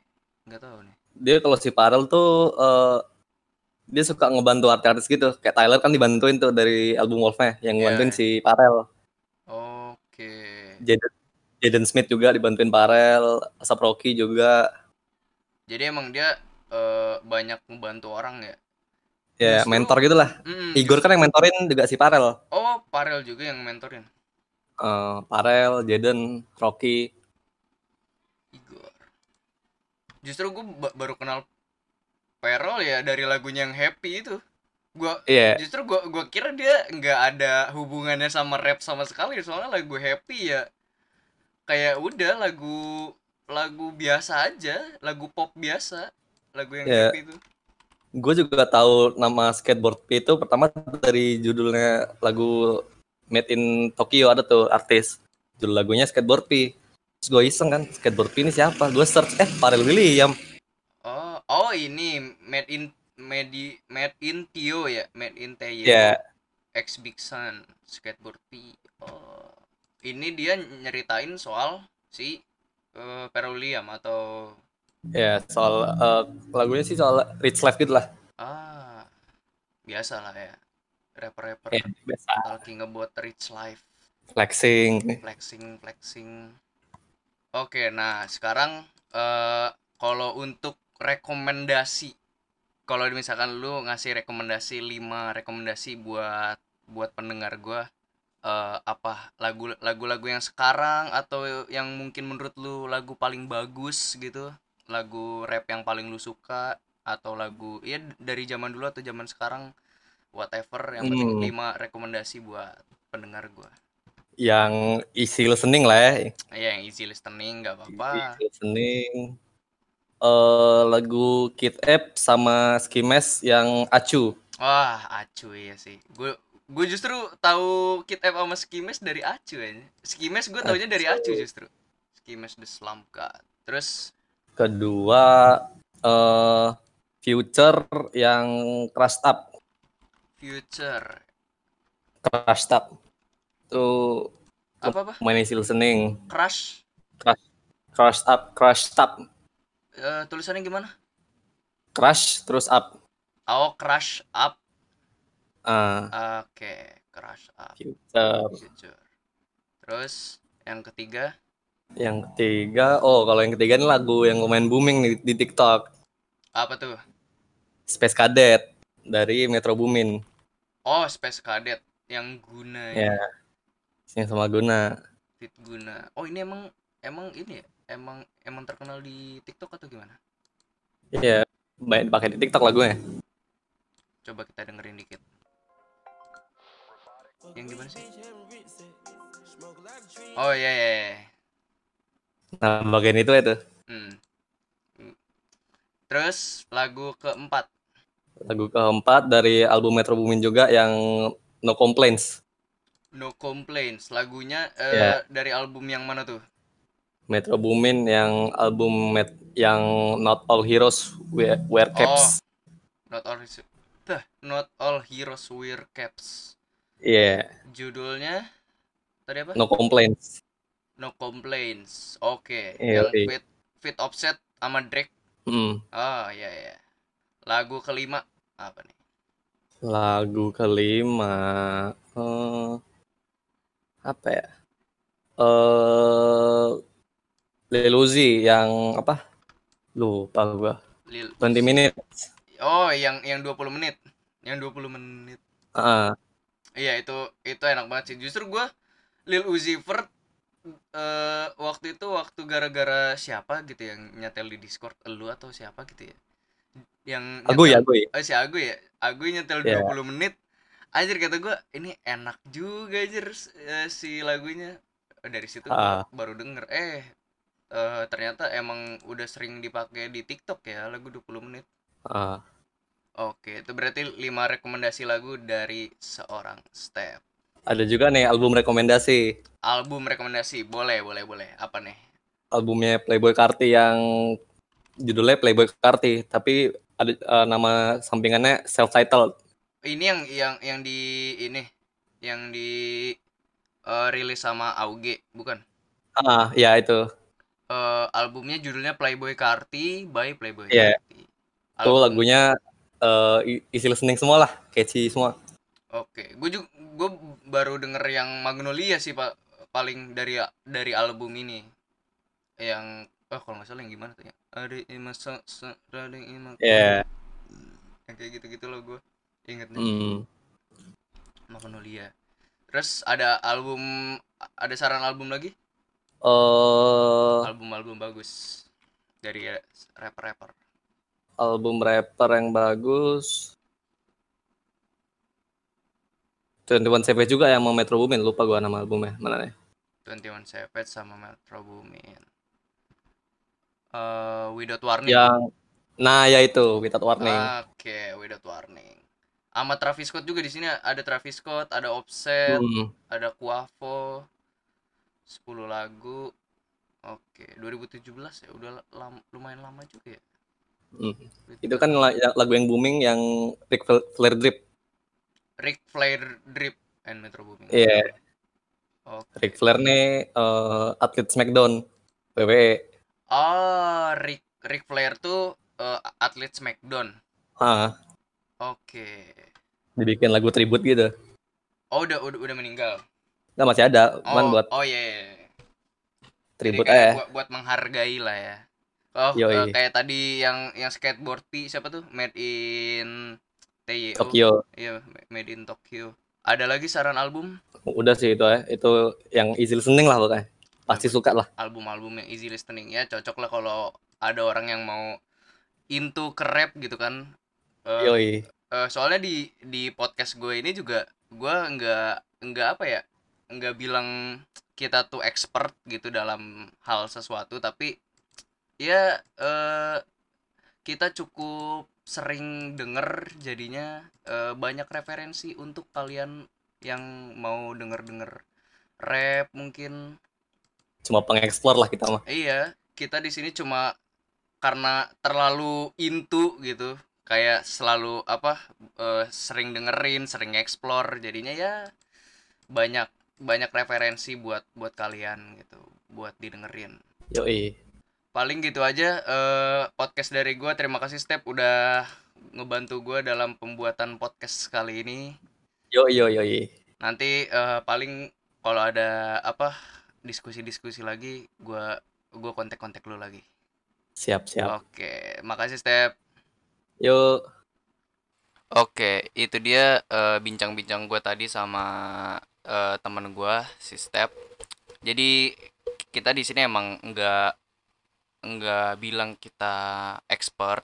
[SPEAKER 1] Nggak tahu nih.
[SPEAKER 2] dia kalau si Pharrell tuh eh, dia suka ngebantu artis-artis gitu kayak Tyler kan dibantuin tuh dari album Wolfnya yang
[SPEAKER 1] Iya,
[SPEAKER 2] ngebantuin
[SPEAKER 1] iya.
[SPEAKER 2] si Pharrell
[SPEAKER 1] Oke.
[SPEAKER 2] Jaden Jaden Smith juga dibantuin Pharrell Asap Rocky juga
[SPEAKER 1] Jadi emang dia eh, banyak membantu orang ya.
[SPEAKER 2] ya
[SPEAKER 1] Justru-
[SPEAKER 2] mentor gitu lah
[SPEAKER 1] Mm,
[SPEAKER 2] Igor kan yang mentorin juga si Parel.
[SPEAKER 1] Oh, Parel juga yang mentorin.
[SPEAKER 2] Eh, Parel, Jaden, Rocky.
[SPEAKER 1] Igor. Justru gue baru kenal Perel ya dari lagunya yang Happy itu. Gua
[SPEAKER 2] Iya,
[SPEAKER 1] justru gua gua kira dia nggak ada hubungannya sama rap sama sekali soalnya lagu Happy ya kayak udah lagu lagu biasa aja, lagu pop biasa, lagu yang
[SPEAKER 2] Iya.
[SPEAKER 1] Happy itu.
[SPEAKER 2] gue juga tahu nama skateboard P itu pertama dari judulnya lagu Made in Tokyo ada tuh artis. Judul lagunya skateboard P. Terus gue iseng kan, skateboard P ini siapa? Gue search, eh Parel William.
[SPEAKER 1] Oh, oh ini Made in Medi Made in Tio ya, Made in Teo.
[SPEAKER 2] Ya,
[SPEAKER 1] X Big Sun, Skateboard P. Oh. Ini dia nyeritain soal si eh, Peruliam atau
[SPEAKER 2] ya soal eh, lagunya sih soal rich life gitu lah.
[SPEAKER 1] ah biasa lah ya rapper-rapper
[SPEAKER 2] Ya, biasa.
[SPEAKER 1] talking about rich life,
[SPEAKER 2] Flexing.
[SPEAKER 1] flexing, flexing. Oke, nah sekarang eh kalau untuk rekomendasi, kalau misalkan lu ngasih rekomendasi 5 rekomendasi buat buat pendengar gua eh apa lagu lagu-lagu yang sekarang atau yang mungkin menurut lu lagu paling bagus gitu, lagu rap yang paling lu suka atau lagu ya dari zaman dulu atau zaman sekarang whatever yang penting
[SPEAKER 2] Hmm.
[SPEAKER 1] 5 rekomendasi buat pendengar gua.
[SPEAKER 2] yang isi listening lah ya
[SPEAKER 1] Iya, yang easy listening nggak apa-apa.
[SPEAKER 2] isi listening eh lagu Kid App sama Skimes yang Acu
[SPEAKER 1] Wah, acu ya sih. Gue gue justru tahu Kid F sama Skimes dari acu ya. Skimes gue taunya dari acu justru. Skimes the Slump God. Terus
[SPEAKER 2] kedua eh Future yang Crust Up
[SPEAKER 1] Future
[SPEAKER 2] Crust Up itu
[SPEAKER 1] apa apa?
[SPEAKER 2] main isi listening
[SPEAKER 1] Crush.
[SPEAKER 2] Crust Up Crust Up
[SPEAKER 1] Eh, tulisannya gimana?
[SPEAKER 2] Crush terus up
[SPEAKER 1] Oh, Crush Up.
[SPEAKER 2] Ah,
[SPEAKER 1] Oke, Crush Up
[SPEAKER 2] Future
[SPEAKER 1] Future. Terus yang ketiga,
[SPEAKER 2] yang ketiga oh kalau yang ketiga ini lagu yang lumayan booming di, di TikTok
[SPEAKER 1] apa tuh?
[SPEAKER 2] Space Cadet dari Metro Boomin
[SPEAKER 1] Oh, Space Cadet yang guna ya.
[SPEAKER 2] ya yang sama guna
[SPEAKER 1] Fit guna. Oh, ini emang emang ini ya? Emang emang terkenal di TikTok atau gimana?
[SPEAKER 2] Iya, banyak pakai di TikTok lagunya.
[SPEAKER 1] Coba kita dengerin dikit. Yang gimana sih? Oh iya iya. iya.
[SPEAKER 2] Nah, bagian itu itu
[SPEAKER 1] Hmm. Terus lagu keempat.
[SPEAKER 2] lagu keempat dari album Metro Boomin juga yang No Complaints,
[SPEAKER 1] No Complaints. Lagunya eh,
[SPEAKER 2] Iya.
[SPEAKER 1] dari album yang mana tuh?
[SPEAKER 2] Metro Boomin yang album Met yang Not All Heroes Wear, Wear Caps.
[SPEAKER 1] Not All Heroes. Tuh, Not All Heroes Wear Caps.
[SPEAKER 2] Iya,
[SPEAKER 1] Judulnya tadi apa?
[SPEAKER 2] No Complaints.
[SPEAKER 1] No Complaints. Oke.
[SPEAKER 2] Iya,
[SPEAKER 1] Yang
[SPEAKER 2] iya.
[SPEAKER 1] fit fit offset sama Drake.
[SPEAKER 2] Hmm.
[SPEAKER 1] Oh iya iya. Lagu kelima apa nih?
[SPEAKER 2] Lagu kelima eh, apa ya? Eh Lil Uzi yang apa? Lupa gua.
[SPEAKER 1] Lil
[SPEAKER 2] 20 minutes.
[SPEAKER 1] Oh, yang yang 20 menit. Yang 20 menit.
[SPEAKER 2] Heeh.
[SPEAKER 1] Iya, itu itu enak banget sih. Justru gua Lil Uzi Vert eh, waktu itu waktu gara-gara siapa gitu yang nyetel di Discord elu atau siapa gitu ya. Yang
[SPEAKER 2] Aguy,
[SPEAKER 1] nyetel-
[SPEAKER 2] Aguy.
[SPEAKER 1] Oh, si Aguy ya. Aguy nyetel
[SPEAKER 2] Iya.
[SPEAKER 1] 20 menit. Anjir kata gua, ini enak juga anjir eh, si lagunya. Eh, Dari situ
[SPEAKER 2] Ah.
[SPEAKER 1] gua baru denger eh eh, ternyata emang udah sering dipakai di TikTok ya lagu 20 menit.
[SPEAKER 2] Ah,
[SPEAKER 1] Oke, itu berarti 5 rekomendasi lagu dari seorang Step.
[SPEAKER 2] ada juga nih album rekomendasi
[SPEAKER 1] Album rekomendasi, boleh, boleh, boleh. Apa nih?
[SPEAKER 2] albumnya Playboy Karti yang judulnya Playboy Karti tapi ada eh, nama sampingannya self titled
[SPEAKER 1] Ini yang yang yang di ini yang di eh, rilis sama Auge, bukan?
[SPEAKER 2] ah ya itu
[SPEAKER 1] Eh, albumnya judulnya Playboy Karti by Playboy
[SPEAKER 2] Iya.
[SPEAKER 1] Karti.
[SPEAKER 2] tuh
[SPEAKER 1] Album-
[SPEAKER 2] lagunya eh, i- isi listening semua lah catchy semua
[SPEAKER 1] Oke, gue juga gue baru denger yang Magnolia sih pak paling dari dari album ini yang oh kalau nggak salah yang gimana tuh ya? Ada ima sa sa ada ima
[SPEAKER 2] ya
[SPEAKER 1] yang kayak gitu-gitu loh gue ingetnya
[SPEAKER 2] hmm.
[SPEAKER 1] Magnolia. Terus ada album ada saran album lagi?
[SPEAKER 2] Eh,
[SPEAKER 1] Album-album bagus dari ya, rapper-rapper.
[SPEAKER 2] album rapper yang bagus 21 Savage juga yang mau Metro Boomin lupa gua nama albumnya mana nih
[SPEAKER 1] 21 Savage sama Metro Boomin. Eh Without Warning.
[SPEAKER 2] yang nah ya itu Without Ya,
[SPEAKER 1] Ah,
[SPEAKER 2] Warning
[SPEAKER 1] Oke, Without Warning. Sama Travis Scott juga di sini ada Travis Scott, ada Offset,
[SPEAKER 2] Hmm.
[SPEAKER 1] ada Quavo. 10 lagu. Oke, 2017 ya udah lam- lumayan lama juga ya.
[SPEAKER 2] Hmm. Itu kan la- ya- lagu yang booming yang Rick Fla- Flair Drip.
[SPEAKER 1] Rick Flair Drip and Metro Booming.
[SPEAKER 2] Iya,
[SPEAKER 1] Oke.
[SPEAKER 2] Rick Flair nih eh, atlet SmackDown E. WWE.
[SPEAKER 1] Oh, Rick Rick Flair tuh eh, atlet SmackDown.
[SPEAKER 2] Ah,
[SPEAKER 1] Oke.
[SPEAKER 2] dibikin lagu tribute gitu.
[SPEAKER 1] Oh, udah udah udah meninggal.
[SPEAKER 2] Nah, masih ada, cuman
[SPEAKER 1] Oh,
[SPEAKER 2] buat eh,
[SPEAKER 1] oh iya. iya, iya. Jadi
[SPEAKER 2] tribute
[SPEAKER 1] kayak
[SPEAKER 2] aja.
[SPEAKER 1] buat, buat menghargai lah ya. Oh, eh,
[SPEAKER 2] Yoi.
[SPEAKER 1] kayak tadi yang yang skateboard P siapa tuh? Made in TYO.
[SPEAKER 2] Tokyo.
[SPEAKER 1] Iya, Made in Tokyo. Ada lagi saran album?
[SPEAKER 2] Udah sih itu ya. Itu yang easy listening lah pokoknya. Pasti suka lah.
[SPEAKER 1] Album-album yang easy listening ya cocok lah kalau ada orang yang mau into ke rap gitu kan. Eh,
[SPEAKER 2] Yoi.
[SPEAKER 1] Eh, soalnya di di podcast gue ini juga gue nggak nggak apa ya nggak bilang kita tuh expert gitu dalam hal sesuatu tapi ya eh kita cukup sering denger jadinya eh, banyak referensi untuk kalian yang mau denger denger rap mungkin
[SPEAKER 2] Cuma pengeksplor lah kita mah.
[SPEAKER 1] Iya, kita di sini cuma karena terlalu into gitu, kayak selalu apa eh, sering dengerin, sering explore, jadinya ya banyak banyak referensi buat buat kalian gitu, buat didengerin.
[SPEAKER 2] Yoi.
[SPEAKER 1] Paling gitu aja eh, podcast dari gua. Terima kasih Step udah ngebantu gua dalam pembuatan podcast kali ini.
[SPEAKER 2] Yoi yoi yoi.
[SPEAKER 1] Nanti eh, paling kalau ada apa diskusi-diskusi lagi, gua gua kontak-kontak lu lagi.
[SPEAKER 2] Siap siap.
[SPEAKER 1] Oke, makasih Step.
[SPEAKER 2] Yuk.
[SPEAKER 1] Oke, itu dia eh, bincang-bincang gue tadi sama eh, temen gue si Step. Jadi kita di sini emang nggak nggak bilang kita expert,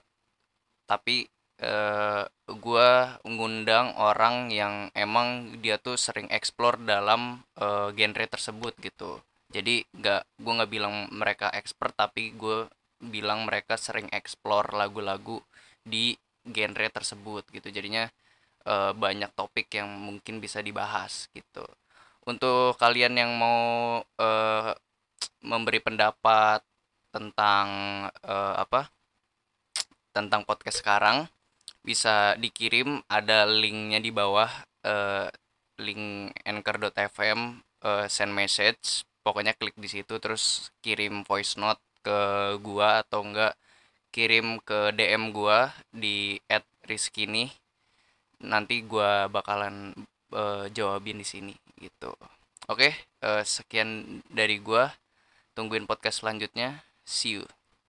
[SPEAKER 1] tapi eh, gue ngundang orang yang emang dia tuh sering explore dalam eh, genre tersebut gitu. Jadi nggak gue nggak bilang mereka expert, tapi gue bilang mereka sering explore lagu-lagu di genre tersebut gitu jadinya eh, banyak topik yang mungkin bisa dibahas gitu untuk kalian yang mau eh, memberi pendapat tentang eh, apa tentang podcast sekarang bisa dikirim ada linknya di bawah eh, link anchor.fm eh, send message pokoknya klik di situ terus kirim voice note ke gua atau enggak kirim ke DM gua di @rizkini nanti gua bakalan eh, jawabin di sini gitu. Oke, eh, sekian dari gua. Tungguin podcast selanjutnya. See you.